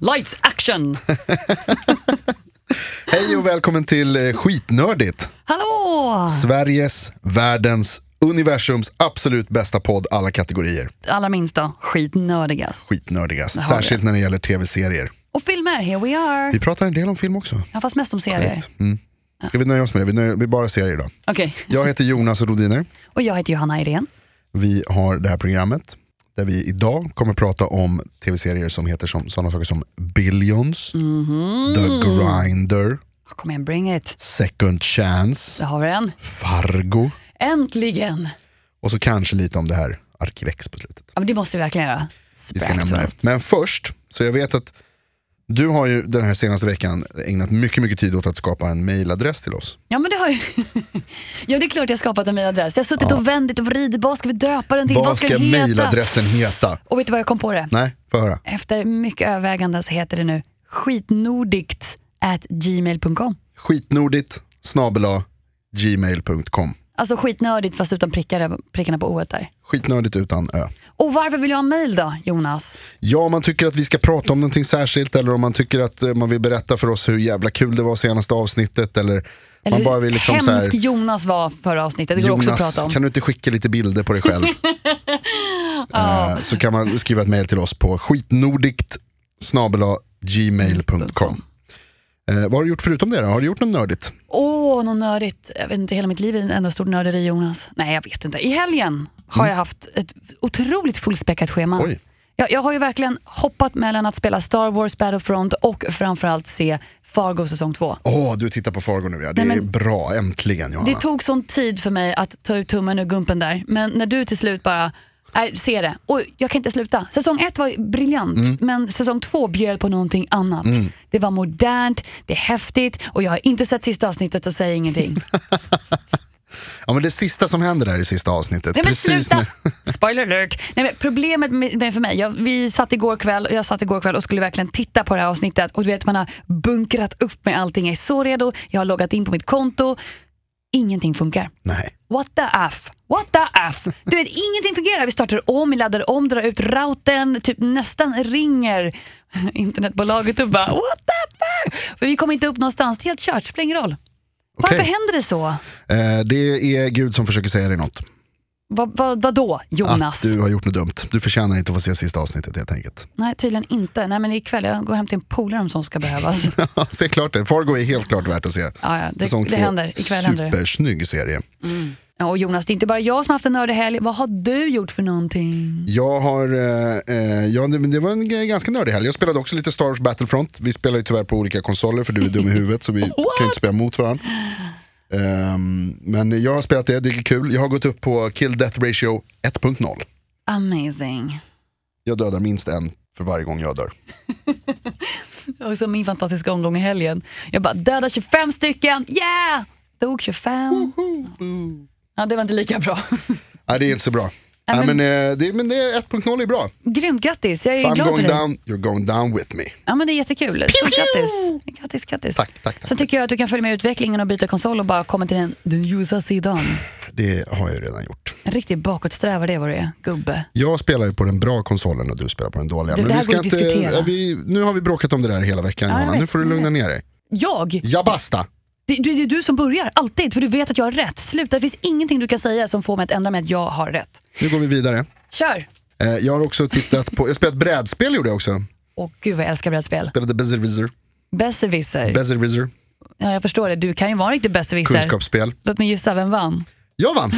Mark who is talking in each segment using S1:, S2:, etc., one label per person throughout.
S1: Lights action!
S2: Hej och välkommen till eh, Skitnördigt.
S1: Hallå!
S2: Sveriges, världens, universums absolut bästa podd alla kategorier.
S1: Allra minsta, skitnördigast.
S2: Skitnördigast,
S1: har vi
S2: särskilt när det gäller tv-serier.
S1: Och filmer, here we are.
S2: Vi pratar en del om film också.
S1: Ja, fast mest om serier.
S2: Ska vi nöja oss med det? Vi, nöjer, vi bara serier idag.
S1: Okej,
S2: Jag heter Jonas Rodiner.
S1: och jag heter Johanna Irén.
S2: Vi har det här programmet där vi idag kommer prata om tv-serier som heter som, sådana saker som Billions,
S1: Mhm.
S2: The Grinder,
S1: Oh, Kom igen, bring it.
S2: Second Chance,
S1: Där har vi den.
S2: Fargo
S1: Äntligen!
S2: och så kanske lite om det här Arkivex på slutet.
S1: Ja, men det måste vi verkligen göra.
S2: Vi ska nämna det.
S1: Spräktuellt.
S2: Men först, så jag vet att du har ju den här senaste veckan ägnat mycket, mycket tid åt att skapa en mailadress till oss.
S1: Ja, men det har ju... ja, det är klart jag har skapat en mailadress. Jag har suttit och vändit och vridit. Vad ska vi döpa den till?
S2: Vad ska
S1: den heta?
S2: mailadressen heta?
S1: Och vet du vad jag kom på det?
S2: Nej, få höra.
S1: Efter mycket överväganden så heter det nu skitnordigt at gmail.com.
S2: Skitnordigt snabela gmail.com.
S1: Alltså skitnördigt fast utan prickar, prickarna på oet där.
S2: Skitnördigt utan ö.
S1: Och varför vill jag ha en mail då, Jonas?
S2: Ja, om man tycker att vi ska prata om någonting särskilt eller om man tycker att eh, man vill berätta för oss hur jävla kul det var senaste avsnittet eller,
S1: Eller
S2: man bara vill liksom så här,
S1: hemsk Jonas var förra avsnittet, det går också att
S2: Jonas,
S1: prata om.
S2: kan du inte skicka lite bilder på dig själv? Eh, så kan man skriva ett mejl till oss på skitnordigt gmail.com
S1: Mm.
S2: eh, Vad har du gjort förutom det då? Har du gjort något nördigt?
S1: Åh, något nördigt. Jag vet inte, hela mitt liv är en enda stor nörderi Jonas. Nej, jag vet inte. I helgen har jag haft ett otroligt fullspäckat schema.
S2: Mm. Oj.
S1: Jag, jag har ju verkligen hoppat mellan att spela Star Wars Battlefront och framförallt se Fargo säsong 2.
S2: Åh, du tittar på Fargo nu ja. Det
S1: Nej,
S2: är
S1: men-
S2: bra, äntligen Johanna.
S1: Det tog sån tid för mig att ta ut tummen ur gumpen där, men när du till slut bara Nej, se det. Och jag kan inte sluta. Säsong ett var briljant, men säsong två bjöd på någonting annat. Det var modernt, det är häftigt och jag har inte sett sista avsnittet och säger ingenting.
S2: Ja, men det sista som händer där i sista avsnittet.
S1: Nej men sluta!
S2: när-
S1: Spoiler alert! Nej, men problemet med, med för mig, jag, vi satt igår kväll och jag satt igår kväll och skulle verkligen titta på det här avsnittet och du vet man har bunkrat upp med allting, jag är så redo, jag har loggat in på mitt konto, ingenting funkar.
S2: Nej.
S1: What the F? What the F? Du vet, ingenting fungerar. Vi startar om, vi laddar om, drar ut routern, typ nästan ringer internetbolaget och bara what the fuck? För vi kommer inte upp någonstans, helt kört, spelar ingen roll.
S2: Okej.
S1: Varför händer det så?
S2: Eh, det är Gud som försöker säga dig något.
S1: Vad va, då, Jonas?
S2: Att Ah, du har gjort något dumt. Du förtjänar inte att få se sista avsnittet helt enkelt.
S1: Nej, tydligen inte. Nej, men ikväll, jag går hem till en polare om sånt ska behövas.
S2: se klart det. Fargo är helt klart värt att se.
S1: Ja, ja,
S2: Säsong
S1: det, det
S2: två.
S1: händer. Ikväll händer det.
S2: Supersnygg serie.
S1: Ja, och Jonas, det är inte bara jag som har haft en nördig helg. Vad har du gjort för någonting?
S2: Jag har, eh, eh, ja, det, men det var en g- ganska nördig helg. Jag spelade också lite Star Wars Battlefront. Vi spelar ju tyvärr på olika konsoler för du är dum i huvudet så vi kan ju inte spela mot varandra. Ehm, men jag har spelat det, det är kul. Jag har gått upp på Kill Death Ratio 1.0.
S1: Amazing.
S2: Jag dödar minst en för varje gång jag dör.
S1: Och så min fantastiska omgång i helgen. Jag bara dödade 25 stycken, yeah! Dog 25. Ja, det var inte lika bra.
S2: Nej, det är inte så bra. Nej, men, eh, det, men det, 1.0 är bra.
S1: Grymt, grattis. Jag är
S2: If I'm
S1: glad för
S2: going
S1: dig.
S2: down, you're going down with me.
S1: Ja, men det är jättekul. Stort grattis. Grattis, grattis.
S2: Tack, tack, tack.
S1: Sen tycker jag att du kan följa med i utvecklingen och byta konsol och bara komma till den, den ljusa sidan.
S2: Det har jag ju redan gjort.
S1: En riktig bakåtsträvare det var det gubbe.
S2: Jag spelar ju på den bra konsolen och du spelar på den dåliga.
S1: Du, det här går att diskutera.
S2: vi, nu har vi bråkat om det där hela veckan
S1: jag
S2: Johanna,
S1: vet,
S2: nu får du
S1: jag
S2: lugna ner dig.
S1: Jag?
S2: Ja basta!
S1: Det, det, det är du som börjar, alltid, för du vet att jag har rätt. Sluta, det finns ingenting du kan säga som får mig att ändra mig att jag har rätt.
S2: Nu går vi vidare.
S1: Kör!
S2: Eh, jag har också tittat på, jag spelat brädspel gjorde jag också.
S1: Åh gud vad jag älskar brädspel.
S2: Spelade Besserwisser,
S1: Besserwisser.
S2: Besserwisser,
S1: Ja, jag förstår det. Du kan ju vara en riktig besserwisser.
S2: kunskapsspel.
S1: Låt mig gissa, vem vann?
S2: Jag vann!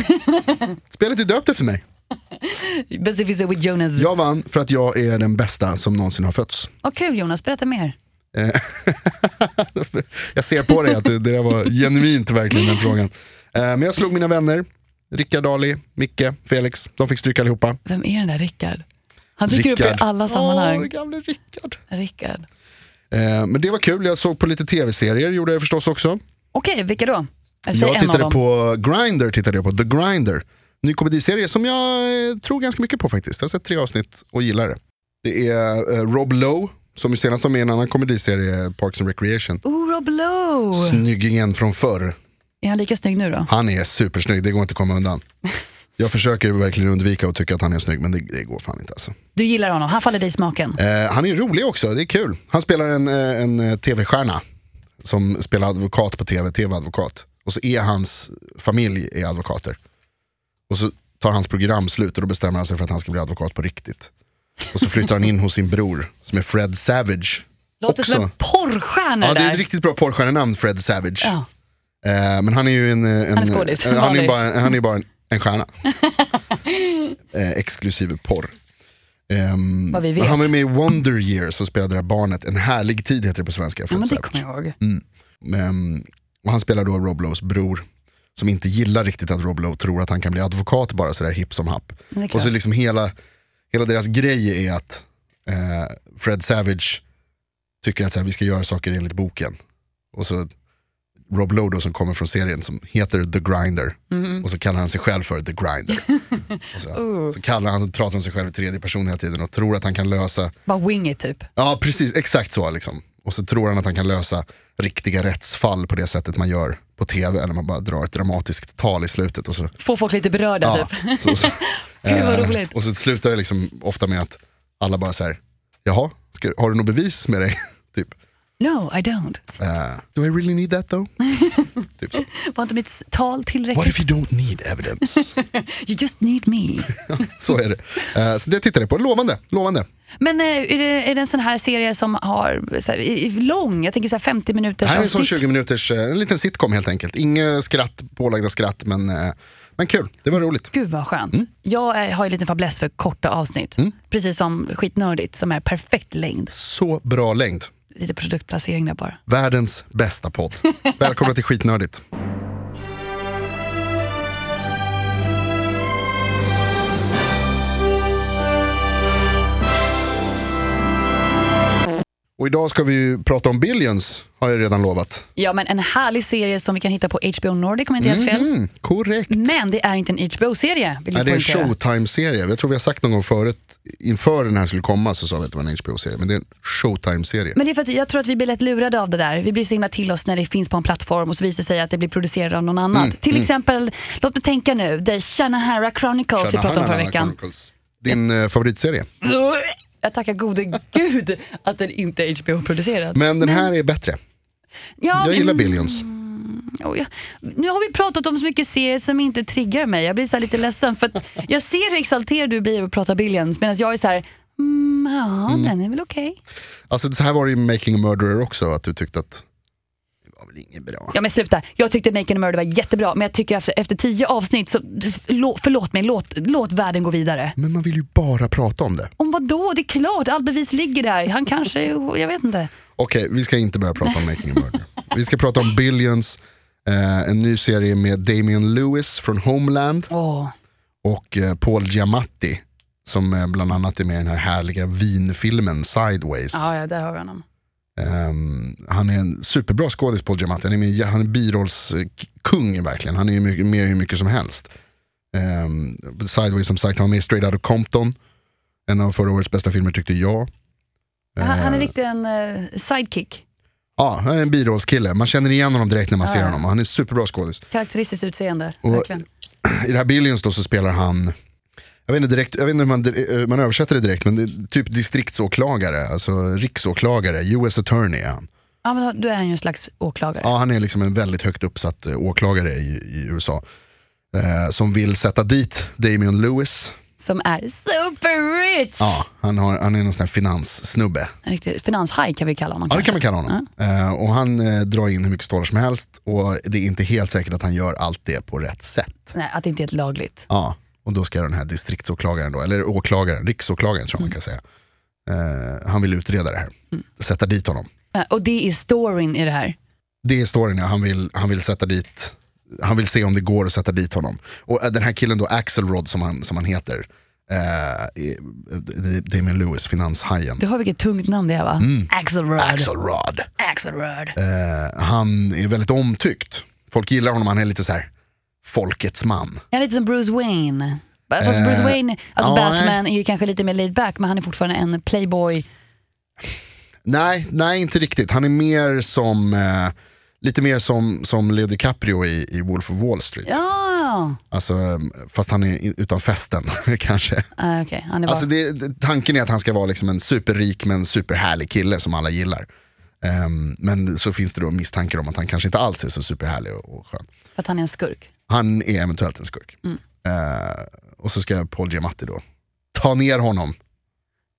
S2: Spelet är döpt efter mig.
S1: Besserwisser with Jonas. Ja.
S2: Jag vann för att jag är den bästa som någonsin har fötts.
S1: kul Jonas, berätta mer.
S2: Jag ser på dig att det, det där var genuint verkligen den frågan. Eh, men jag slog mina vänner, Rickard Dali, Micke, Felix. De fick stryk allihopa.
S1: Vem är den där Rickard? Han dyker upp i
S2: Rickard.
S1: alla sammanhang.
S2: Åh, gamle Rickard.
S1: Rickard.
S2: Eh, men det var kul, jag såg på lite tv-serier gjorde jag förstås också.
S1: Okej, vilka då? Jag säger
S2: jag
S1: en av
S2: tittade
S1: dem.
S2: på Grindr, tittade jag på The Grinder. Ny komediserie som jag eh, tror ganska mycket på faktiskt. Jag har sett tre avsnitt och gillar det. Det är eh, Rob Lowe, som ju senast var med i en annan komediserie, Parks and Recreation.
S1: Oh, Rob Lowe!
S2: Snyggingen från förr.
S1: Är han lika snygg nu då?
S2: Han är supersnygg, det går inte att komma undan. Jag försöker verkligen undvika att tycka att han är snygg, men det, det går fan inte alltså.
S1: Du gillar honom, han faller dig i smaken.
S2: Eh, han är rolig också, det är kul. Han spelar en, eh, en eh, tv-stjärna som spelar advokat på tv, tv-advokat. Och så är hans familj är advokater. Och så tar hans program slut och då bestämmer han sig för att han ska bli advokat på riktigt. Och så flyttar han in hos sin bror som är Fred Savage.
S1: Låter som en
S2: också.
S1: porrstjärna
S2: Ja,
S1: det
S2: det är
S1: där.
S2: ett riktigt bra porrstjärnenamn, Fred Savage.
S1: Ja.
S2: Eh, men han är ju en... en
S1: Han är skådis,
S2: eh, han är
S1: vanlig.
S2: ju bara, han är ju bara en, en stjärna. eh, exklusive porr. Ehm,
S1: Vad vi
S2: men
S1: vet.
S2: Han var ju med i Wonder Years och spelade det här barnet, En härlig tid heter det på svenska.
S1: ja,
S2: Fred
S1: men det
S2: Savage.
S1: kommer jag ihåg.
S2: Mm. Ehm, och han spelar då Rob Lows bror. Som inte gillar riktigt att Rob Lowe tror att han kan bli advokat bara sådär hipp som happ.
S1: Men det är klart.
S2: Och så liksom hela, hela deras grej är att eh, Fred Savage tycker att så här, vi ska göra saker enligt boken. Och så Rob Lowe då, som kommer från serien som heter The Grinder.
S1: Mhm.
S2: Och så kallar han sig själv för The Grinder. och så,
S1: Oh.
S2: så kallar han, pratar om sig själv i tredje person hela tiden och tror att han kan lösa,
S1: Bara wingy typ.
S2: ja precis, exakt så liksom. Och så tror han att han kan lösa riktiga rättsfall på det sättet man gör på tv, när man bara drar ett dramatiskt tal i slutet och så
S1: Får folk lite berörda typ.
S2: så, så,
S1: Gud, vad
S2: eh,
S1: roligt.
S2: Och så slutar det liksom ofta med att alla bara så här, jaha, ska, har du något bevis med dig? typ.
S1: No, I don't.
S2: eh, Do I really need that though? typ så.
S1: Var inte mitt tal
S2: What
S1: tillräckligt?
S2: if you don't need evidence?
S1: You just need me.
S2: så är det. Eh, så det tittade jag på, lovande. lovande.
S1: Men eh, är det, är det en sån här serie som har så här, i- i- lång, jag tänker så här 50
S2: Det
S1: minuters
S2: här är en sån
S1: avsnitt?
S2: 20 minuters, eh, en liten sitcom helt enkelt. Inga skratt, pålagda skratt, men, eh, men kul. Det var roligt.
S1: Gud vad skönt.
S2: Mm.
S1: Jag eh, har ju lite fäbless för korta avsnitt. Precis som Skitnördigt som är perfekt längd.
S2: Så bra längd.
S1: Lite produktplacering där bara.
S2: Världens bästa podd. Välkomna till Skitnördigt. Och idag ska vi ju prata om Billions, har jag redan lovat.
S1: Ja men en härlig serie som vi kan hitta på HBO Nordic om jag inte helt fel.
S2: Mm, korrekt.
S1: Men det är inte en HBO-serie vill
S2: Nej,
S1: jag
S2: det är en
S1: poängtera.
S2: Showtime-serie. Jag tror vi har sagt någon gång förut, inför den här skulle komma så sa vi att det var en HBO-serie. Men det är en Showtime-serie.
S1: Men det är för att jag tror att vi blir lätt lurade av det där. Vi blir så himla till oss när det finns på en plattform och så visar det sig att det blir producerat av någon annan.
S2: Mm,
S1: Till exempel, låt mig tänka nu, The Shannahara Chronicles vi pratade om förra veckan.
S2: Chronicles. Din eh, favoritserie.
S1: Jag tackar gode gud att den inte är HBO-producerad.
S2: Men den här är bättre.
S1: Ja,
S2: Jag
S1: men-
S2: gillar Billions.
S1: Oj, jag- nu har vi pratat om så mycket serier som inte triggar mig. Jag blir så här lite ledsen för att jag ser hur exalterad du blir och pratar Billions medan jag är så här, mm, ja den är väl okej.
S2: Alltså så här var det i Making a Murderer också, att du tyckte att det var väl inget bra.
S1: Ja men sluta, jag tyckte Make and a Murder var jättebra men jag tycker efter, efter tio avsnitt så, förlå- förlåt mig, låt, låt världen gå vidare.
S2: Men man vill ju bara prata om det.
S1: Om vad då? Det är klart, allt bevis ligger där. Han kanske, jag vet inte.
S2: Okej, vi ska inte börja prata om Making a Murderer. Vi ska prata om Billions, eh, en ny serie med Damian Lewis från Homeland
S1: Åh,
S2: och eh, Paul Giamatti som eh, bland annat är med i den här härliga vinfilmen Sideways.
S1: ja, ja där har vi honom.
S2: Ehm, han är en superbra skådis Paul Giamatti. Han är, med, han är birollskung verkligen. Han är ju mycket, med hur mycket som helst. Ehm, Sideways som sagt, han var med i Straight Outta Compton. En av förra årets bästa filmer tyckte jag.
S1: Han, han är
S2: Ehm,
S1: riktigt en eh, sidekick.
S2: Ja, han är en birollskille. Man känner igen honom direkt när man
S1: Ja,
S2: ser
S1: ja.
S2: honom. Han är superbra skådis.
S1: Karaktäristiskt utseende,
S2: Och-
S1: verkligen.
S2: I det här Billions då så spelar han, jag vet inte, direkt, jag vet inte hur man, eh, man översätter det direkt, men det är typ distriktsåklagare, alltså riksåklagare, US attorney är han.
S1: Ja men då är han ju en slags åklagare.
S2: Ja, han är liksom en väldigt högt uppsatt eh, åklagare i, i USA. Eh, som vill sätta dit Damian Lewis.
S1: Som är super rich!
S2: Ja, han, har, han är någon sån här finanssnubbe.
S1: En riktig finanshaj kan vi kalla honom
S2: Ja, det
S1: kanske.
S2: kan man kalla honom. Eh, och han eh, drar in hur mycket stålar som helst och det är inte helt säkert att han gör allt det på rätt sätt.
S1: Nej, att det inte är ett lagligt.
S2: Ja, och då ska den här distriktsåklagaren, då, eller åklagaren, riksåklagaren tror jag man kan säga. Eh, han vill utreda det här, sätta dit honom.
S1: Ja, Eh, Och det är storyn i det här.
S2: Det är storyn, ja. han vill, han vill sätta dit han vill se om det går att sätta dit honom. Och eh, den här killen då, Axelrod som han, som han heter, eh, är- eh, Damien Lewis, finanshajen.
S1: Du hör vilket tungt namn det är va?
S2: Mm.
S1: Axelrod.
S2: Axelrod.
S1: Axelrod.
S2: Eh, han är väldigt omtyckt. Folk gillar honom, han är lite så här folkets man.
S1: Ja, lite som Bruce Wayne. Fast Bruce Wayne, alltså
S2: Eh, ja,
S1: Batman, är ju kanske lite mer laid back men han är fortfarande en playboy.
S2: Nej, nej inte riktigt. Han är mer som, eh, lite mer som, som Leo DiCaprio i, i Wolf of Wall Street.
S1: Ja, Jaha,
S2: Alltså, ehm, fast han är i- utan festen kanske.
S1: ah, okej. Han är bara...
S2: Alltså det, det- tanken är att han ska vara liksom en superrik men superhärlig kille som alla gillar. Ehm, men så finns det då misstankar om att han kanske inte alls är så superhärlig och, och skön.
S1: För att han är en skurk.
S2: Han är eventuellt en skurk.
S1: Mm.
S2: Eh, och så ska Paul Giamatti då ta ner honom,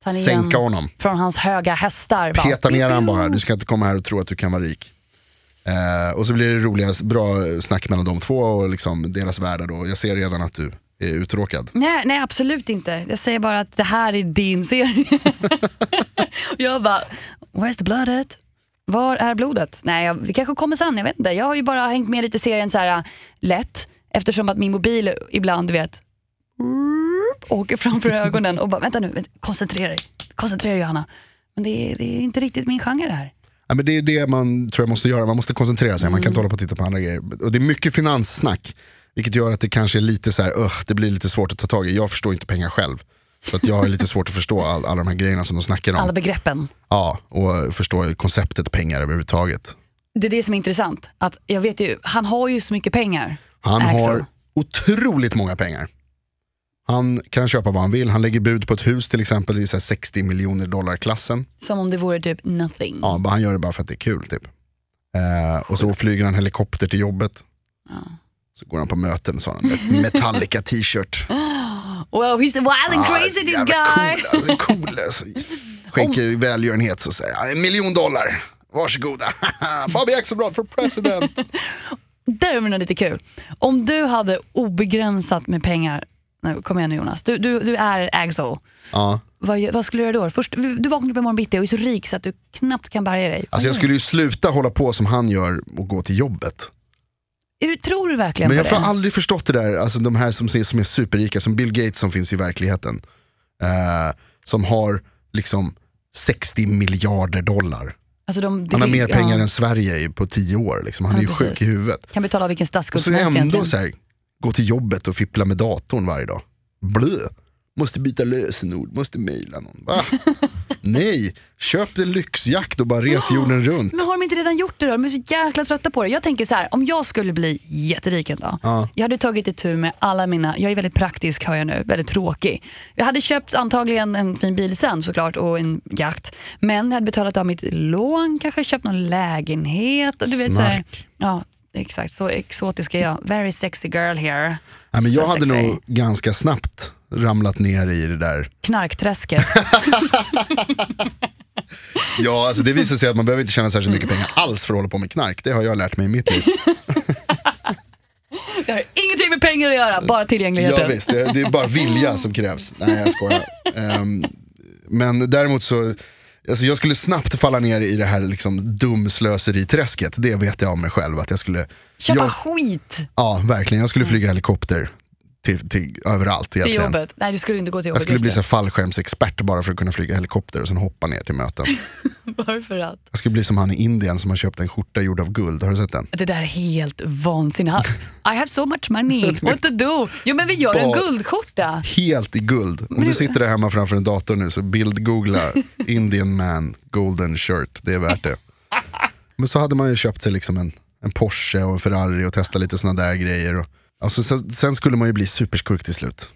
S1: Ta ner
S2: sänka
S1: honom
S2: honom,
S1: från hans höga hästar. bara.
S2: peta ner honom
S1: Piu, piu.
S2: bara. Du ska inte komma här och tro att du kan vara rik. Eh, och så blir det roliga, bra snack mellan de två och liksom deras världar då. Jag ser redan att du är uttråkad.
S1: Nej, nej, absolut inte. Jag säger bara att det här är din serie. Och jag bara, where's the bloodet? Var är blodet? Nej, jag, det kanske kommer sen, jag vet inte. Jag har ju bara hängt med lite i serien så här äh, lätt, eftersom att min mobil ibland, du vet, åker framför ögonen och bara, vänta nu, vänta, koncentrera dig. Koncentrera dig Johanna. Men det är, det är inte riktigt min genre det här.
S2: Ja, men det är det man tror jag måste göra, man måste koncentrera sig, man kan inte hålla på och titta på andra grejer. Och det är mycket finanssnack, vilket gör att det kanske är lite så här, "Ugh, det blir lite svårt att ta tag i. Jag förstår inte pengar själv. Så att jag har lite svårt att förstå all, alla de här grejerna som de snackar
S1: Alla
S2: om.
S1: begreppen.
S2: Ja, och förstå konceptet pengar överhuvudtaget.
S1: Det är det som är intressant. Att jag vet ju, han har ju så mycket pengar.
S2: Han
S1: Axel.
S2: har otroligt många pengar. Han kan köpa vad han vill, han lägger bud på ett hus till exempel i så här 60 miljoner dollar klassen.
S1: Som om det vore typ nothing.
S2: Ja, bara han gör det bara för att det är kul typ. Eh, och så flyger han helikopter till jobbet.
S1: Ja.
S2: Så går han på möten så har han en Metallica t-shirt.
S1: Wow, he's wild and
S2: Ah,
S1: Ah, crazy this
S2: jävla
S1: guy.
S2: Cool, alltså, cool, alltså. Skänker välgörenhet så säger han, en miljon dollar. Varsågoda. Bobby Axelrod för president.
S1: Där är det lite kul. Om du hade obegränsat med pengar, nu, kom igen nu Jonas, du, du, du är Axel.
S2: ja.
S1: Vad, gör- vad skulle du göra då? Först, du vaknar upp imorgon bitti och är så rik så att du knappt kan bärga dig.
S2: Alltså jag skulle ju sluta hålla på som han gör och gå till jobbet.
S1: Är du, tror du verkligen
S2: Men jag
S1: på
S2: har
S1: det?
S2: aldrig förstått det där, alltså de här som, ser- som är superrika, som Bill Gates som finns i verkligheten. Eh, som har liksom 60 miljarder dollar.
S1: Alltså de, det
S2: Han har
S1: fin-
S2: mer pengar
S1: ja,
S2: än Sverige i- på 10 år. Liksom. Han
S1: Ja,
S2: är ju
S1: precis.
S2: sjuk i huvudet.
S1: Kan betala vilken
S2: Och
S1: statsskuld
S2: så
S1: som helst
S2: ändå
S1: egentligen.
S2: så här, gå till jobbet och fippla med datorn varje dag. Blö. Måste byta lösenord, måste mejla någon. Va? Nej, köp en lyxjakt och bara res jorden runt.
S1: Men har de inte redan gjort det då? De är så jäkla trötta på det. Jag tänker så här, om jag skulle bli jätterik en dag.
S2: Ja.
S1: Jag hade tagit ett tur med alla mina, jag är väldigt praktisk hör jag nu, väldigt tråkig. Jag hade köpt antagligen en fin bil sen såklart och en jakt. Men jag hade betalat av mitt lån, kanske köpt någon lägenhet. Och du vet, så här,
S2: Snark.
S1: ja, exakt. Så exotisk är jag. Very sexy girl here.
S2: Nej, men jag
S1: Så
S2: hade
S1: sexy.
S2: nog ganska snabbt ramlat ner i det där.
S1: Knarkträsket.
S2: Ja, alltså det visar sig att man behöver inte tjäna särskilt mycket pengar alls för att hålla på med knark. Det har jag lärt mig i mitt liv.
S1: Det har ingenting med pengar att göra, bara
S2: Ja,
S1: tillgängligheten.
S2: visst, det, det är bara vilja som krävs. Nej, jag skojar. Ehm, men däremot så, alltså jag skulle snabbt falla ner i det här liksom dumslöseriträsket. Det vet jag om mig själv. Att jag skulle,
S1: Köpa
S2: jag,
S1: skit
S2: ja, verkligen. Jag skulle flyga helikopter till, till överallt
S1: till
S2: egentligen.
S1: jobbet. Nej, du skulle inte gå till jobbet.
S2: Jag skulle
S1: just
S2: bli
S1: det.
S2: så här fallskärmsexpert bara för att kunna flyga helikopter och sen hoppa ner till möten.
S1: Varför att?
S2: Jag skulle bli som han i Indien som har köpt en skjorta gjord av guld. Har du sett den?
S1: Det där är helt vansinnigt. Han- I have so much money, what to do? Jo men vi gör en
S2: Bara-
S1: guldskjorta.
S2: helt i guld. Om du sitter där hemma framför en dator nu så bildgoogla Indian man golden shirt, det är värt det. Men så hade man ju köpt sig liksom en, en Porsche och en Ferrari och testa lite sådana där grejer. Och, alltså, sen, sen skulle man ju bli superskurk till slut.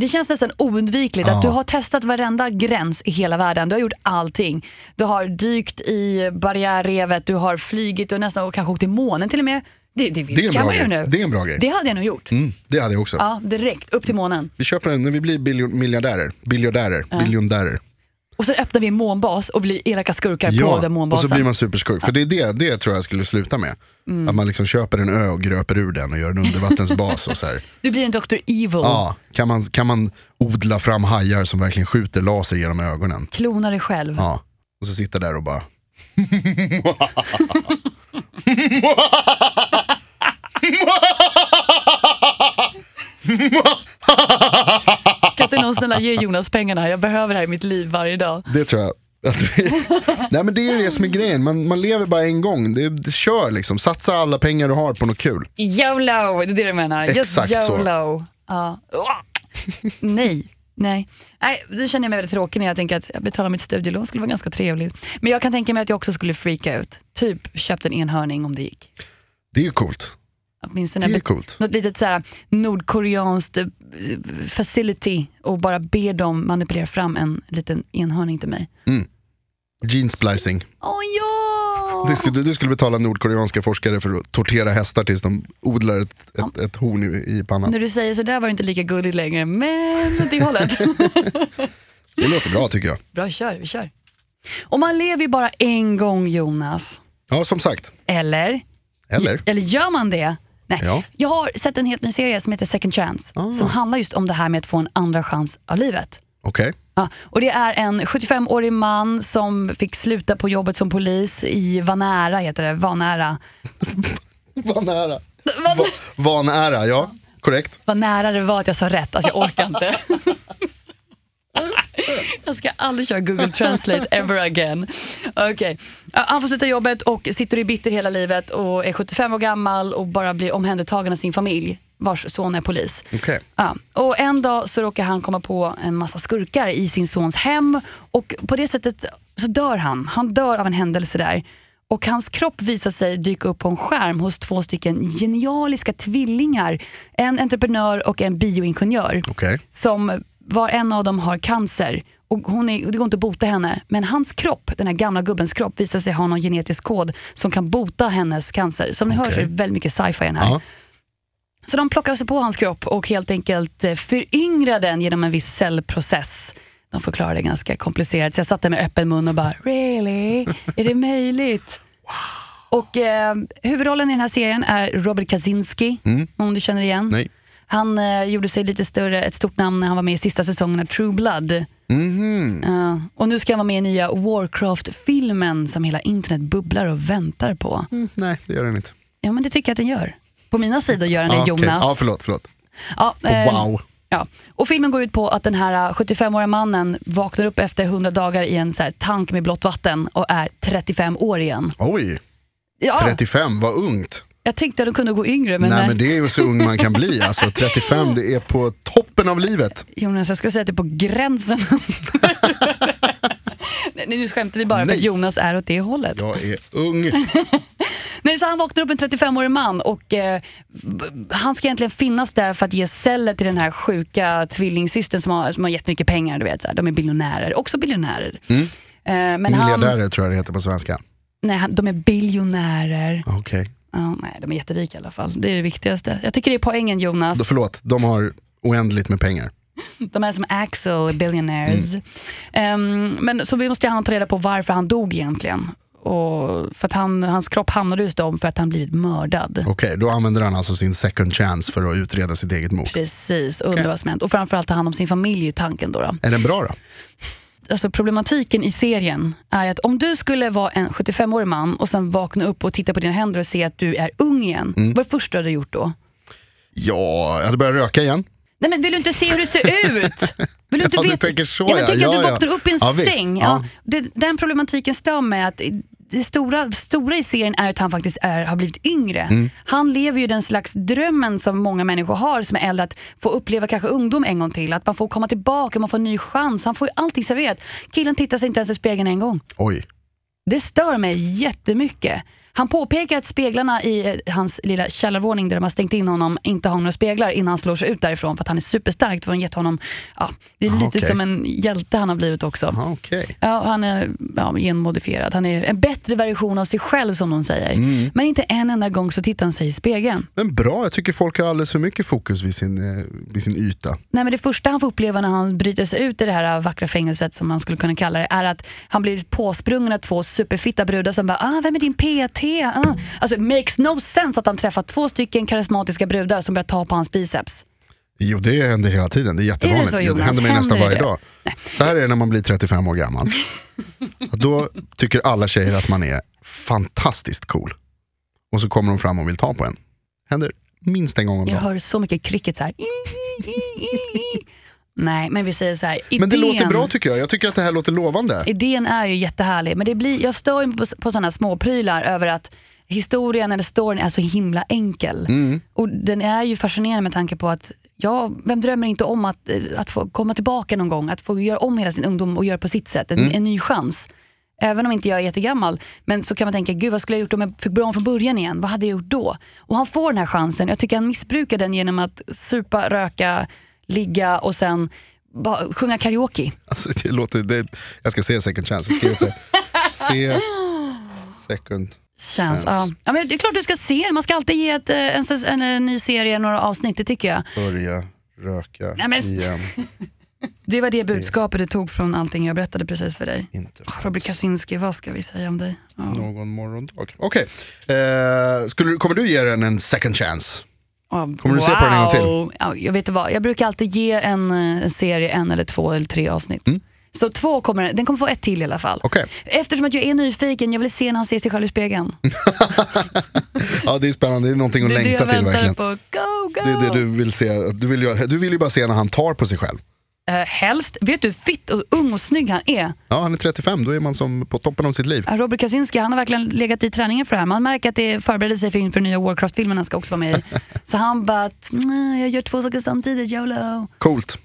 S1: Det känns nästan oundvikligt att du har testat varenda gräns i hela världen. Du har gjort allting. Du har dykt i barriärrevet, du har flygit och nästan och kanske åkt till månen till och med. Det, det, visst
S2: Det är en
S1: kan
S2: bra
S1: man ju
S2: grej.
S1: nu.
S2: Det, är en bra grej.
S1: Det hade jag nog gjort.
S2: Mm, det hade jag också.
S1: Ja, direkt upp till månen.
S2: Vi köper en när vi blir biljon, miljardärer. Biljardärer. Biljonärer.
S1: Och så öppnar vi en månbas och blir elaka skurkar på den
S2: Ja, och
S1: månbasen.
S2: så blir man superskurk. För det är det, det tror jag skulle sluta med.
S1: Mm.
S2: Att man liksom köper en ö och gröper ur den och gör en undervattensbas. och så här.
S1: Du blir en Dr. Evil.
S2: Ja, kan man, kan man odla fram hajar som verkligen skjuter laser genom ögonen?
S1: Klona dig själv.
S2: Ja, och så sitta där och bara...
S1: Kan inte någon snälla ge Jonas pengarna? Jag behöver det här i mitt liv varje dag.
S2: Det tror jag. Att vi... Nej men det är ju det som är grejen, man, man lever bara en gång. Det, det, kör liksom, satsa alla pengar du har på något kul.
S1: YOLO, det är det du menar.
S2: Exakt
S1: Just
S2: så.
S1: YOLO. Ja. Nej. Nej. Nej, nu känner jag mig väldigt tråkig när jag tänker att jag betalar mitt studielån skulle vara ganska trevligt. Men jag kan tänka mig att jag också skulle freaka ut. Typ köpt en enhörning om det gick.
S2: Det är ju coolt.
S1: Åtminstone
S2: Det är
S1: be-
S2: coolt.
S1: något litet så här nordkoreanskt eh, facility och bara ber dem manipulera fram en liten enhörning till mig.
S2: Gene splicing.
S1: Åh ja!
S2: Det skulle, du skulle betala nordkoreanska forskare för att tortera hästar tills de odlar ett, ett, ett horn i, i pannan.
S1: När du säger så där var det inte lika gulligt längre, men åt det hållet.
S2: Det låter bra tycker jag.
S1: Bra, kör, vi kör. Och man lever ju bara en gång Jonas.
S2: Ja, som sagt.
S1: Eller?
S2: Eller?
S1: Eller gör man det? Nej.
S2: Ja.
S1: Jag har sett en helt ny serie som heter Second Chance, som handlar just om det här med att få en andra chans av livet.
S2: Okej.
S1: Ja, och det är en 75-årig man som fick sluta på jobbet som polis i Vanära, heter det. Vanära.
S2: Vad nära.
S1: Vad-
S2: Va, vad nära, ja. Korrekt.
S1: Vad nära det var att jag sa rätt, alltså jag orkar inte. Jag ska aldrig köra Google Translate ever again. Okej. Ja, Han får sluta jobbet och sitter i bitter hela livet och är 75 år gammal och bara blir omhändertagen av sin familj vars son är polis.
S2: Okej.
S1: Ja. Och en dag så råkar han komma på en massa skurkar i sin sons hem och på det sättet så dör han. Han dör av en händelse där. Och hans kropp visar sig dyka upp på en skärm hos två stycken genialiska tvillingar. En entreprenör och en bioingenjör
S2: Okej.
S1: som var en av dem har cancer. Och hon är, det går inte att bota henne, men hans kropp, den här gamla gubbens kropp, visar sig ha någon genetisk kod som kan bota hennes cancer. Som ni hör så är det väldigt mycket sci-fi i den här.
S2: Ja.
S1: Så de plockade sig på hans kropp och helt enkelt eh, föryngrade den genom en viss cellprocess. De förklarade det ganska komplicerat, så jag satt där med öppen mun och bara “Really? Är det möjligt?” Och eh, Huvudrollen i den här serien är Robert Kaczynski, om du känner igen.
S2: Mm. Nej.
S1: Han eh, gjorde sig lite större, ett stort namn när han var med i sista säsongen av True Blood.
S2: Mm. Mhm.
S1: Eh, och nu ska han vara med i nya Warcraft-filmen som hela internet bubblar och väntar på.
S2: Mm, nej, det gör den inte.
S1: Ja, men det tycker jag att den gör. På mina sidor gör den det,
S2: Ah, okej.
S1: Jonas.
S2: Ja, förlåt. förlåt.
S1: Ja, eh,
S2: Wow.
S1: Ja. Och filmen går ut på att den här eh, 75-åriga mannen vaknar upp efter 100 dagar i en så här tank med blått vatten och är 35 år igen.
S2: Oj,
S1: Ja,
S2: 35, vad ungt.
S1: Jag tyckte att de kunde gå yngre, men, äh,
S2: nej,
S1: nej,
S2: men det är ju så ung man kan bli. Alltså, 35, det är på toppen av livet.
S1: Jonas, jag skulle säga att det är på gränsen. Nej, nu skämtar vi bara för
S2: Nej.
S1: att Jonas är åt det hållet.
S2: Jag är ung.
S1: Nej, så han vaknar upp en 35-årig man och eh, b- han ska egentligen finnas där för att ge celler till den här sjuka tvillingsystern som har, som har gett mycket pengar. Du vet, så här. De är biljonärer, också biljonärer.
S2: Mm.
S1: Eh, men han,
S2: Miljardärer tror jag det heter på svenska. Ah,
S1: nej, han, de är biljonärer.
S2: Okej,
S1: Ja, nej, de är jätterika i alla fall. Det är det viktigaste. Jag tycker det är poängen Jonas.
S2: då förlåt. De har oändligt med pengar.
S1: De är som Axel, billionaires. Ehm, men så vi måste han ta reda på varför han dog egentligen. Och för att han, hans kropp hamnade hos dem för att han blivit mördad.
S2: Okej, då använder han alltså sin second chance för att utreda sitt eget mord.
S1: Precis, undrar vad som hänt. Och framförallt ta hand om sin familj i tanken då. då.
S2: Är den bra då?
S1: Alltså problematiken i serien är att om du skulle vara en 75-årig man och sen vakna upp och titta på dina händer och se att du är ung igen. Vad är det första du hade gjort då?
S2: Ja, jag hade börjat röka igen.
S1: Nej men vill du inte se hur det ser ut? Vill du inte
S2: Ja, du
S1: veta?
S2: tänker så,
S1: ja. Men
S2: ja.
S1: tänk att
S2: Ja,
S1: du
S2: ja.
S1: vaknar upp i en
S2: Ja, visst.
S1: säng.
S2: Ja.
S1: Ja. Det, den problematiken stör mig att det stora, stora i serien är att han faktiskt är, har blivit yngre.
S2: Mm.
S1: Han lever ju den slags drömmen som många människor har som är äldre, att få uppleva kanske ungdom en gång till. Att man får komma tillbaka, man får en ny chans. Han får ju allting serverat. Killen tittar sig inte ens i spegeln en gång.
S2: Oj,
S1: Det stör mig jättemycket. Han påpekar att speglarna i eh, hans lilla källarvåning där de har stängt in honom inte har några speglar innan han slår sig ut därifrån för att han är superstark. För han gett honom, ja, det är lite
S2: okej.
S1: som en hjälte han har blivit också.
S2: ah, okej.
S1: Ja, han är ja, genmodifierad. Han är en bättre version av sig själv som de säger. Men inte en enda gång så tittar han sig i spegeln.
S2: Men bra, jag tycker folk har alldeles för mycket fokus vid sin, eh, vid sin yta.
S1: Nej, men det första han får uppleva när han bryter sig ut i det här vackra fängelset som man skulle kunna kalla det är att han blir påsprungen av två superfitta brudar som bara ah, “Vem är din PT?” ah. Alltså makes no sense att han träffar två stycken karismatiska brudar som börjar ta på hans biceps.
S2: Jo, det händer hela tiden. Det är jättevanligt.
S1: så,
S2: det
S1: Jonas?
S2: händer mig nästan
S1: Händer
S2: varje
S1: det?
S2: dag. Så här är det när man blir 35 år gammal. Då tycker alla tjejer att man är fantastiskt cool. Och så kommer de fram och vill ta på en. Händer minst en gång om
S1: Jag
S2: dagen.
S1: hör så mycket cricket så här. I, i, i, i, i. Nej, men vi säger så här. Idén,
S2: Men det låter bra tycker jag. Jag tycker att det här låter lovande.
S1: idén är ju jättehärlig, men det blir, jag stör ju på, på sådana småprylar över att historien eller storyn är så himla enkel. Och den är ju fascinerande med tanke på att Ja, vem drömmer inte om att, eh, att få komma tillbaka någon gång? Att få göra om hela sin ungdom och göra på sitt sätt, en, en ny chans. Eh, Även om inte jag är jättegammal. Men så kan man tänka, gud vad skulle jag gjort om jag fick börja om från början igen? Vad hade jag gjort då? Och han får den här chansen. Jag tycker han missbrukar den genom att supa, röka, ligga och sen bara sjunga karaoke.
S2: Alltså, det låter, det, jag ska se second chance, jag skrev det. Se second.
S1: Känns, ja. Ja, men det är klart du ska se den. Man ska alltid ge ett, eh, en, säs- en, eh, ny serie några avsnitt, det tycker jag.
S2: Börja röka
S1: Nej, men-
S2: igen.
S1: Det var det budskapet du tog från allting jag berättade precis för dig.
S2: Inte
S1: Robert Kaczynski, vad ska vi säga om dig? Ja.
S2: någon morgondag. Okej, eh, skulle du- kommer du ge den en second chance?
S1: Ja,
S2: Kommer du se på den en gång till?
S1: wow. Ja, jag vet inte vad, jag brukar alltid ge en, eh, en serie en eller två eller tre avsnitt.
S2: Mm.
S1: Så två kommer den- den kommer få ett till i alla fall.
S2: Okej,
S1: Eftersom att jag är nyfiken, jag vill se när han ser sig själv i spegeln.
S2: Mm. ja, det är spännande, det är någonting att
S1: det är det
S2: längta
S1: jag
S2: till
S1: väntar
S2: verkligen.
S1: på. Go, go!
S2: Det är det du vill se, du vill, ju, du vill ju bara se när han tar på sig själv.
S1: Eh, helst, vet du hur fitt och ung och snygg han är?
S2: Ja, han är 35, då är man som på toppen av sitt liv.
S1: Ja, Eh, Robert Kaczynski han har verkligen legat i träningen för det här. Man märker att det förbereder sig för inför nya Warcraft-filmen han ska också vara med i. Så han bara, "Mm, jag gör två saker samtidigt, YOLO.
S2: Coolt.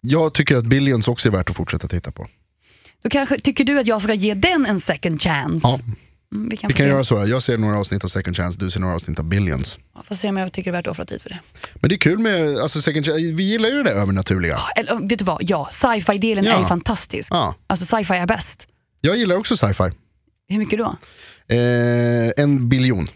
S2: Jag tycker att Billions också är värt att fortsätta titta på.
S1: Då kanske tycker du att jag ska ge den en second chance?
S2: Ja.
S1: Mm, vi kan,
S2: Vi
S1: få
S2: kan
S1: se.
S2: göra så, här. jag ser några avsnitt av second chance, du ser några avsnitt av Billions.
S1: Ja, får se om jag tycker det är värt att offra tid för det.
S2: Men det är kul med, alltså second chance, vi gillar ju det där övernaturliga.
S1: Eller, vet du vad, ja, sci-fi-delen
S2: Ja.
S1: är ju fantastisk.
S2: Ja,
S1: Alltså sci-fi är bäst.
S2: jag gillar också sci-fi.
S1: Hur mycket då?
S2: Eh, en biljon.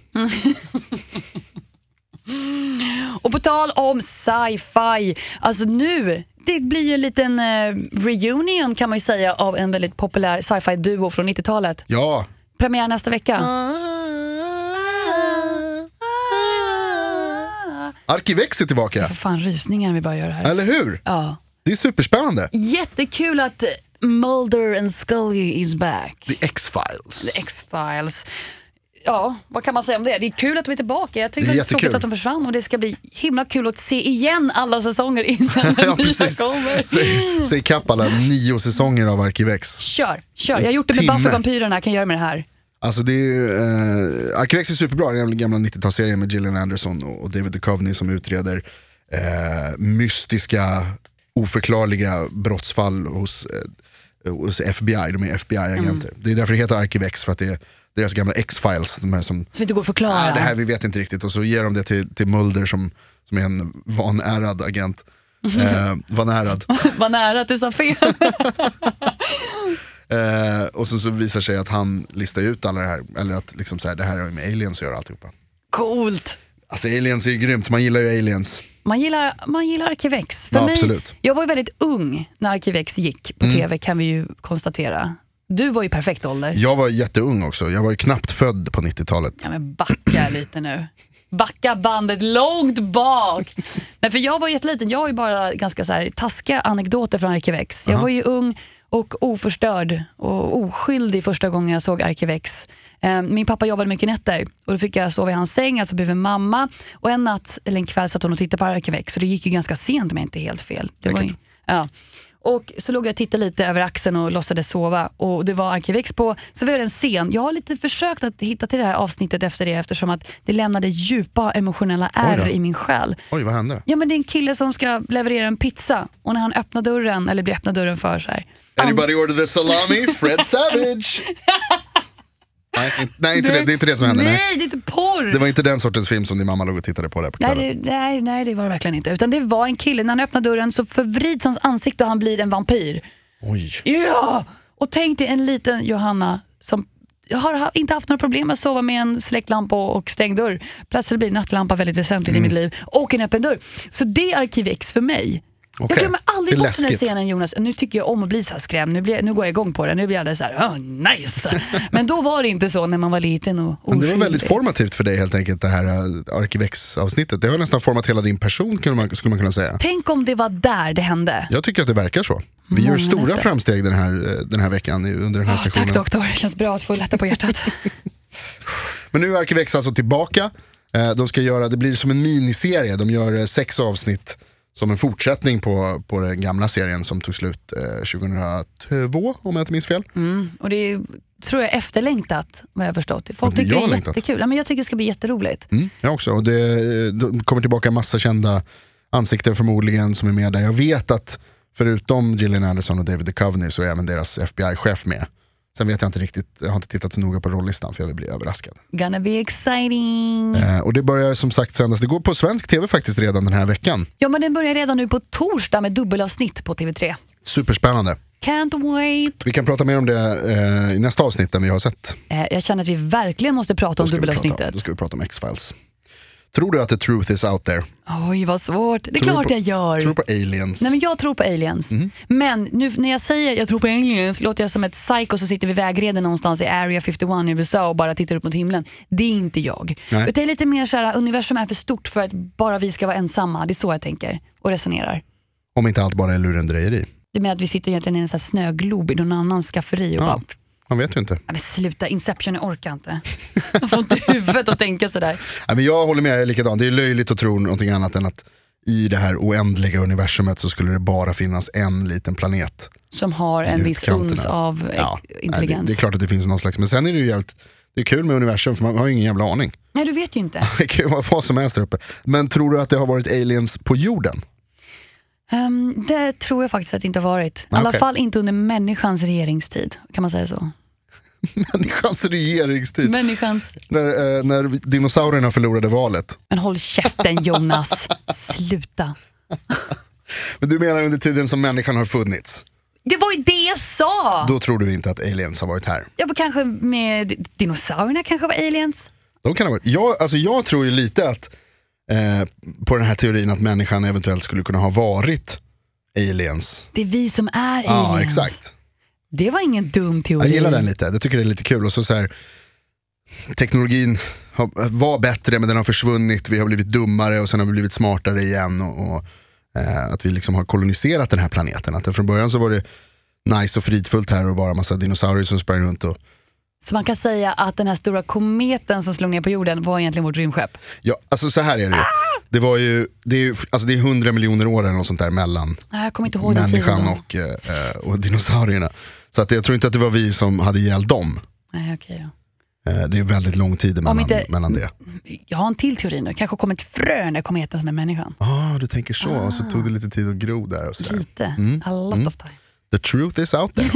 S1: Och på tal om sci-fi, alltså nu, det blir ju en liten eh, reunion kan man ju säga av en väldigt populär sci-fi-duo från 90-talet.
S2: Ja.
S1: Premiär nästa vecka.
S2: Arkivex är tillbaka,
S1: För fan rysningar vi bara gör här.
S2: eller hur?
S1: Ja.
S2: Det är superspännande.
S1: Jättekul att Mulder and Scully is back.
S2: The X-Files.
S1: X-Files. Ja, vad kan man säga om det? Det är kul att de är tillbaka. Jag
S2: Det
S1: tycker
S2: är
S1: det är tråkigt
S2: jättekul.
S1: att de försvann och det ska bli himla kul att se igen alla säsonger innan den
S2: Ja,
S1: nya
S2: precis.
S1: kommer.
S2: Säg, säg kapp alla nio säsonger av Arkivex.
S1: Kör, kör. Jag har gjort det med
S2: Timme.
S1: Buffy vampyrerna, kan jag göra med det här.
S2: Alltså det är ju, eh, Arkivex är superbra, den gamla- gamla 90-talsserien med Gillian Anderson och och David Duchovny som utreder eh, mystiska, oförklarliga brottsfall hos, eh, hos FBI. De är FBI-agenter.
S1: Mm.
S2: Det är därför det heter Arkivex, för att det är deras gamla X-files. De här som,
S1: Som inte går att förklara.
S2: ah, det här vi vet inte riktigt. Och så ger de det till, till Mulder som, som är en vanärad agent.
S1: Mm-hmm.
S2: Eh, vanärad.
S1: Vad nära att du sa fel.
S2: Eh, och så, så visar sig att han listar ut alla det här, eller att liksom så här, det här har ju med aliens att göra alltihopa.
S1: Coolt.
S2: Alltså aliens är ju grymt, man gillar ju aliens.
S1: Man gillar, man gillar Arkivex. För
S2: Ja,
S1: mig,
S2: absolut. Mm.
S1: Jag var ju väldigt ung när Arkivex gick på tv kan vi ju konstatera. Du var ju perfekt ålder.
S2: Jag var jätteung också, jag var ju knappt född på 90-talet.
S1: Ja, men backa lite nu. Backa bandet långt bak. Nej, för jag var jätteliten, jag har ju bara ganska så här, taskiga anekdoter från Arkivex. Jag var ju ung och oförstörd och oskyldig första gången jag såg Arkivex. Eh, Min pappa jobbade mycket nätter och då fick jag sova i hans säng, alltså blev en mamma. Och en natt, eller en kväll satt hon och tittade på Arkivex så det gick ju ganska sent om jag inte är helt fel. Det var ju, ja. Och så låg jag och tittade lite över axeln och låtsades sova och det var Arkivex på. Så vi hade en scen. Jag har lite försökt att hitta till det här avsnittet efter det eftersom att det lämnade djupa emotionella ärr
S2: då.
S1: i min själ.
S2: Oj, vad hände?
S1: Ja men det är en kille som ska leverera en pizza och när han öppnar dörren, eller blir öppnad dörren för så här.
S2: Anybody order the salami? Fred Savage! nej, inte- nej inte det, det är inte det som hände.
S1: nej,
S2: Nej.
S1: det är inte porr!
S2: Det var inte den sortens film som din mamma låg och tittade på där på
S1: Nej
S2: kvällen.
S1: det, nej, nej det var det verkligen inte. Utan det var en kille, när han öppnar dörren så förvrids hans ansikte och han blir en vampyr.
S2: Oj.
S1: Ja! Och tänk dig en liten Johanna som har ha- inte haft några problem med att sova med en släktlampa och och stängd dörr. Plötsligt blir nattlampa väldigt väsentligt i mitt
S2: Mm.
S1: liv. Och en öppen dörr. Så det är Arkiv X för mig.
S2: Okej.
S1: Jag glömmer aldrig
S2: Det är
S1: bort den här
S2: läskigt.
S1: scenen Jonas. Nu tycker jag om att bli så här skrämd. Nu, blir, nu går jag igång på det. Nu blir jag alldeles så här, oh, nice. Men då var det inte så när man var liten och
S2: Men det var
S1: oskyldig.
S2: väldigt formativt för dig helt enkelt det här eh, Arkivex-avsnittet. Det har nästan format hela din person kunde man, skulle man kunna säga.
S1: Tänk om det var där det hände.
S2: Jag tycker att det verkar så. Vi gör
S1: Många
S2: stora
S1: nätter.
S2: framsteg den här, eh, den här veckan i- under den här
S1: Ah,
S2: sessionen.
S1: tack doktor, det känns bra att få lätta på hjärtat.
S2: Men nu är Arkivex alltså tillbaka. Eh, De ska göra, det blir som en miniserie, de gör eh, sex avsnitt som en fortsättning på, på den gamla serien som tog slut eh, 2002 om jag inte minns fel.
S1: Mm, och det är, tror jag är efterlängtat vad jag har förstått. Folk
S2: Ja, det-
S1: tycker
S2: jag
S1: det
S2: har
S1: är
S2: längtat.
S1: jättekul. Ja, men jag tycker det ska bli jätteroligt.
S2: Mm, jag också, och det, de kommer tillbaka en massa kända ansikten förmodligen som är med där. Jag vet att förutom Gillian Anderson och David Duchovny så är även deras FBI-chef med. Sen vet jag inte riktigt, jag har inte tittat så noga på rollistan för jag vill bli överraskad.
S1: Gonna be exciting.
S2: Eh, och det börjar som sagt sändas, det går på svensk tv faktiskt redan den här veckan.
S1: Ja, men den börjar redan nu på torsdag med dubbelavsnitt på TV3.
S2: Superspännande.
S1: Can't wait.
S2: Vi kan prata mer om det eh, i nästa avsnitt när vi har sett.
S1: Eh, jag känner att vi verkligen måste prata om
S2: Då ska vi prata,
S1: dubbelavsnittet.
S2: då ska vi prata om X-Files. Tror du att the truth is out there?
S1: Oj, vad svårt. Det är
S2: Tror du
S1: klart
S2: på-
S1: jag gör.
S2: Tror du på aliens?
S1: Nej, men jag tror på aliens.
S2: Mhm.
S1: Men nu när jag säger jag tror på aliens låter jag som ett psycho som sitter vid vägreden någonstans i Area 51 i USA och bara tittar upp mot himlen. Det är inte jag.
S2: Nej.
S1: Utan det är lite mer så här, universum är för stort för att bara vi ska vara ensamma. Det är så jag tänker och resonerar.
S2: Om inte allt bara är lurendrejeri.
S1: Du menar att vi sitter egentligen i en sån här snöglob i någon annans skafferi och
S2: Ja.
S1: bara,
S2: Man vet ju inte.
S1: "Nej, men sluta, Inception, jag orkar inte. Jag får inte huvudet att tänka sådär.
S2: Nej, men jag håller med, jag är likadan. Det är löjligt att tro någonting annat än att i det här oändliga universumet så skulle det bara finnas en liten planet.
S1: Som har en viss
S2: Utkanterna.
S1: uns av eh,
S2: nej, det,
S1: intelligens.
S2: det är klart att det finns någon slags, men sen är det ju jävligt, det är kul med universum för man har ju ingen jävla aning.
S1: Nej, du vet ju inte.
S2: Det kan ju vara vad som helst där uppe. Men tror du att det har varit aliens på jorden?
S1: Ehm, det tror jag faktiskt att det inte har varit. I
S2: Nej,
S1: alla
S2: okej.
S1: fall inte under människans regeringstid. Kan man säga så?
S2: Människans regeringstid.
S1: Människans...
S2: När, eh, när dinosaurierna förlorade valet.
S1: Men håll käften Jonas, sluta.
S2: Men du menar under tiden som människan har funnits?
S1: Det var ju det jag sa!
S2: Då tror du inte att aliens har varit här?
S1: Ja, men kanske med dinosaurierna kanske var aliens.
S2: De kan ha varit. Jag, alltså jag tror ju lite att eh, på den här teorin att människan eventuellt skulle kunna ha varit aliens.
S1: Det är vi som är aliens.
S2: Ja, exakt.
S1: Det var ingen dum teori.
S2: Jag gillar den lite, jag tycker det är lite kul. Och så, så här, teknologin har, var bättre men den har försvunnit, vi har blivit dummare och sen har vi blivit smartare igen. Och, och, eh, att vi liksom har koloniserat den här planeten. Att det från början så var det nice och fridfullt här och bara massa dinosaurier som sprang runt. Och,
S1: Så man kan säga att den här stora kometen som slog ner på jorden var egentligen vårt rymdskepp.
S2: ja, alltså så här är det ju. Det, var ju, det är ju alltså det är 100 miljoner år eller något sånt där mellan
S1: Nej, Jag kommer inte ihåg den
S2: människan
S1: tiden.
S2: och, eh, eh, och dinosaurierna. Så att jag tror inte att det var vi som hade ihjäl dem.
S1: Nej, okej då.
S2: Eh, Det är väldigt lång tid mellan,
S1: inte-
S2: mellan det.
S1: Jag har en till teori nu. kanske kommer ett frö när kometen som är människan.
S2: Ah, du tänker så. Och så tog det lite tid att gro där. Och sådär.
S1: Lite. A lot
S2: Mm.
S1: of time.
S2: The truth is out there.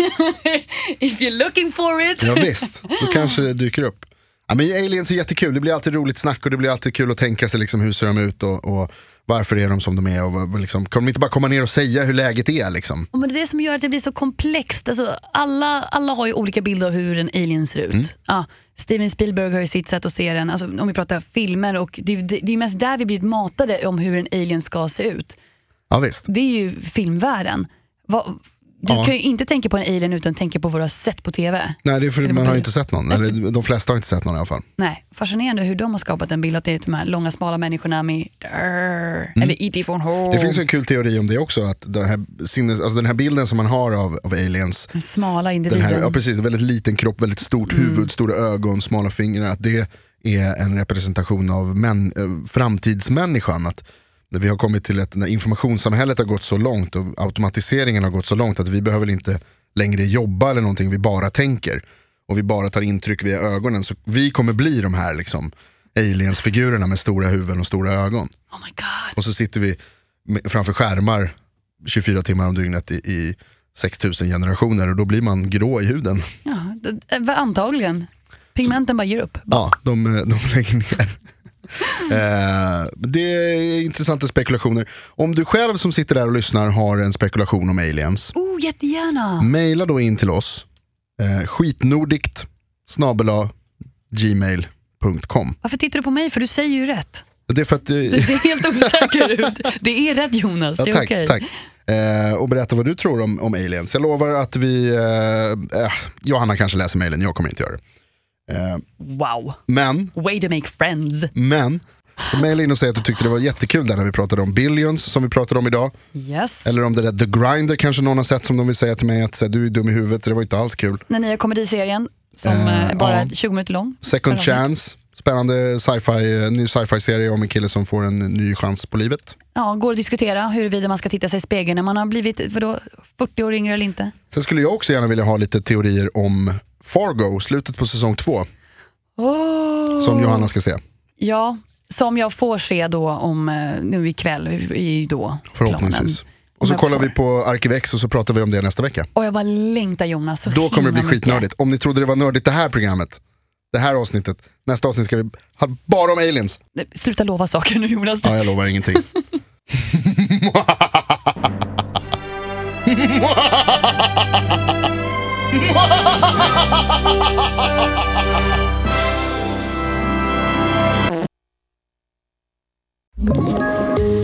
S1: If you're looking for it.
S2: Ja, visst, då kanske det dyker upp. Ja, men aliens är jättekul, det blir alltid roligt snack och det blir alltid kul att tänka sig liksom, hur ser de ut och, och varför är de som de är. Och, vad- liksom, kan de inte bara komma ner och säga hur läget är? Liksom?
S1: Och Men det är det som gör att det blir så komplext. Alltså, alla, alla har ju olika bilder av hur en alien ser
S2: Mm.
S1: ut. Ja, Steven Spielberg har ju sitt sätt att se den, alltså, om vi pratar filmer. Och det, det, det är mest där vi blivit matade om hur en alien ska se ut.
S2: Ja, visst.
S1: Det är ju filmvärlden. Va, du
S2: Ja.
S1: kan ju inte tänka på en alien utan tänka på vad du har sett på TV.
S2: Nej, det är för man har ju inte sett någon.
S1: Ett-
S2: Eller, de flesta har inte sett någon i alla fall.
S1: Nej, fascinerande hur de har skapat en bild att det är de här långa smala människorna med eller E.T. från Home.
S2: Mm. Det finns en kul teori om det också, att den här, sinnes, alltså den här bilden som man har av, av aliens,
S1: Den smala
S2: den
S1: individen.
S2: här, ja, precis, en väldigt liten kropp, väldigt stort huvud, stora ögon, smala fingrar, att det är en representation av män, eh, framtidsmänniskan. Att vi har kommit till att när informationssamhället har gått så långt och automatiseringen har gått så långt att vi behöver inte längre jobba eller någonting, vi bara tänker. Och vi bara tar intryck via ögonen. Så vi kommer bli de här liksom, aliensfigurerna med stora huvuden och stora ögon.
S1: Oh my god.
S2: Och så sitter vi med- framför skärmar 24 timmar om dygnet i, i 6000 generationer och då blir man grå i huden.
S1: Ja, det- eh, antagligen. Pigmenten bara ger upp.
S2: Ja, de, de lägger ner. Eh, det är intressanta spekulationer. Om du själv som sitter där och lyssnar har en spekulation om aliens,
S1: Oh, jättegärna!
S2: mejla då in till oss. Eh, skitnordikt snabela gmail.com.
S1: Varför tittar du på mig? För du säger ju rätt.
S2: Det är för att... eh,
S1: Du ser helt osäker ut. Det är rätt Jonas, det
S2: Ja,
S1: är
S2: tack,
S1: okej.
S2: tack. Eh, och berätta vad du tror om, om aliens. Jag lovar att vi, eh, eh, Johanna kanske läser mailen, jag kommer inte göra det. Eh,
S1: Wow,
S2: men
S1: way to make friends.
S2: Men, mejla in och säg att du tyckte det var jättekul där när vi pratade om Billions som vi pratade om idag.
S1: Yes.
S2: Eller om det där The Grinder kanske någon har sett som de vill säga till mig att så här, du är dum i huvudet, det var inte alls kul.
S1: Den nya komediserien som
S2: Eh,
S1: eh, bara
S2: ja.
S1: är 20 minuter lång.
S2: Second
S1: Eller
S2: Chance, spännande sci-fi, eh, ny sci-fi-serie om en kille som får en ny chans på livet.
S1: Ja, går att diskutera huruvida man ska titta sig i spegeln när man har blivit vadå, 40 år yngre eller inte.
S2: Sen skulle jag också gärna vilja ha lite teorier om Fargo, slutet på säsong två,
S1: Oh.
S2: som Johanna ska se.
S1: Ja, som jag får se då om eh, nu ikväll. i- i- Då,
S2: Förhoppningsvis.
S1: planen.
S2: Och så
S1: jag
S2: kollar
S1: får.
S2: vi på Arkivex och så pratar vi om det nästa vecka.
S1: Och jag bara längtar Jonas så
S2: Då kommer det bli
S1: himla mycket.
S2: skitnördigt. Om ni trodde det var nördigt det här programmet, det här avsnittet, nästa avsnitt ska vi ha bara om aliens.
S1: Sluta lova saker nu Jonas.
S2: Ja, jag lovar ingenting.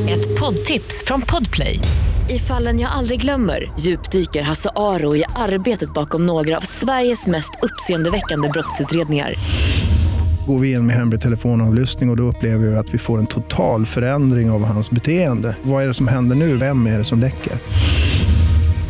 S3: Ett poddtips från Podplay. I fallen jag aldrig glömmer djupdyker Hasse Aro i arbetet bakom några av Sveriges mest uppseendeväckande brottsutredningar.
S4: går vi in med hemlig telefonavlyssning och, och då upplever vi att vi får en total förändring av hans beteende. Vad är det som händer nu? Vem är det som läcker?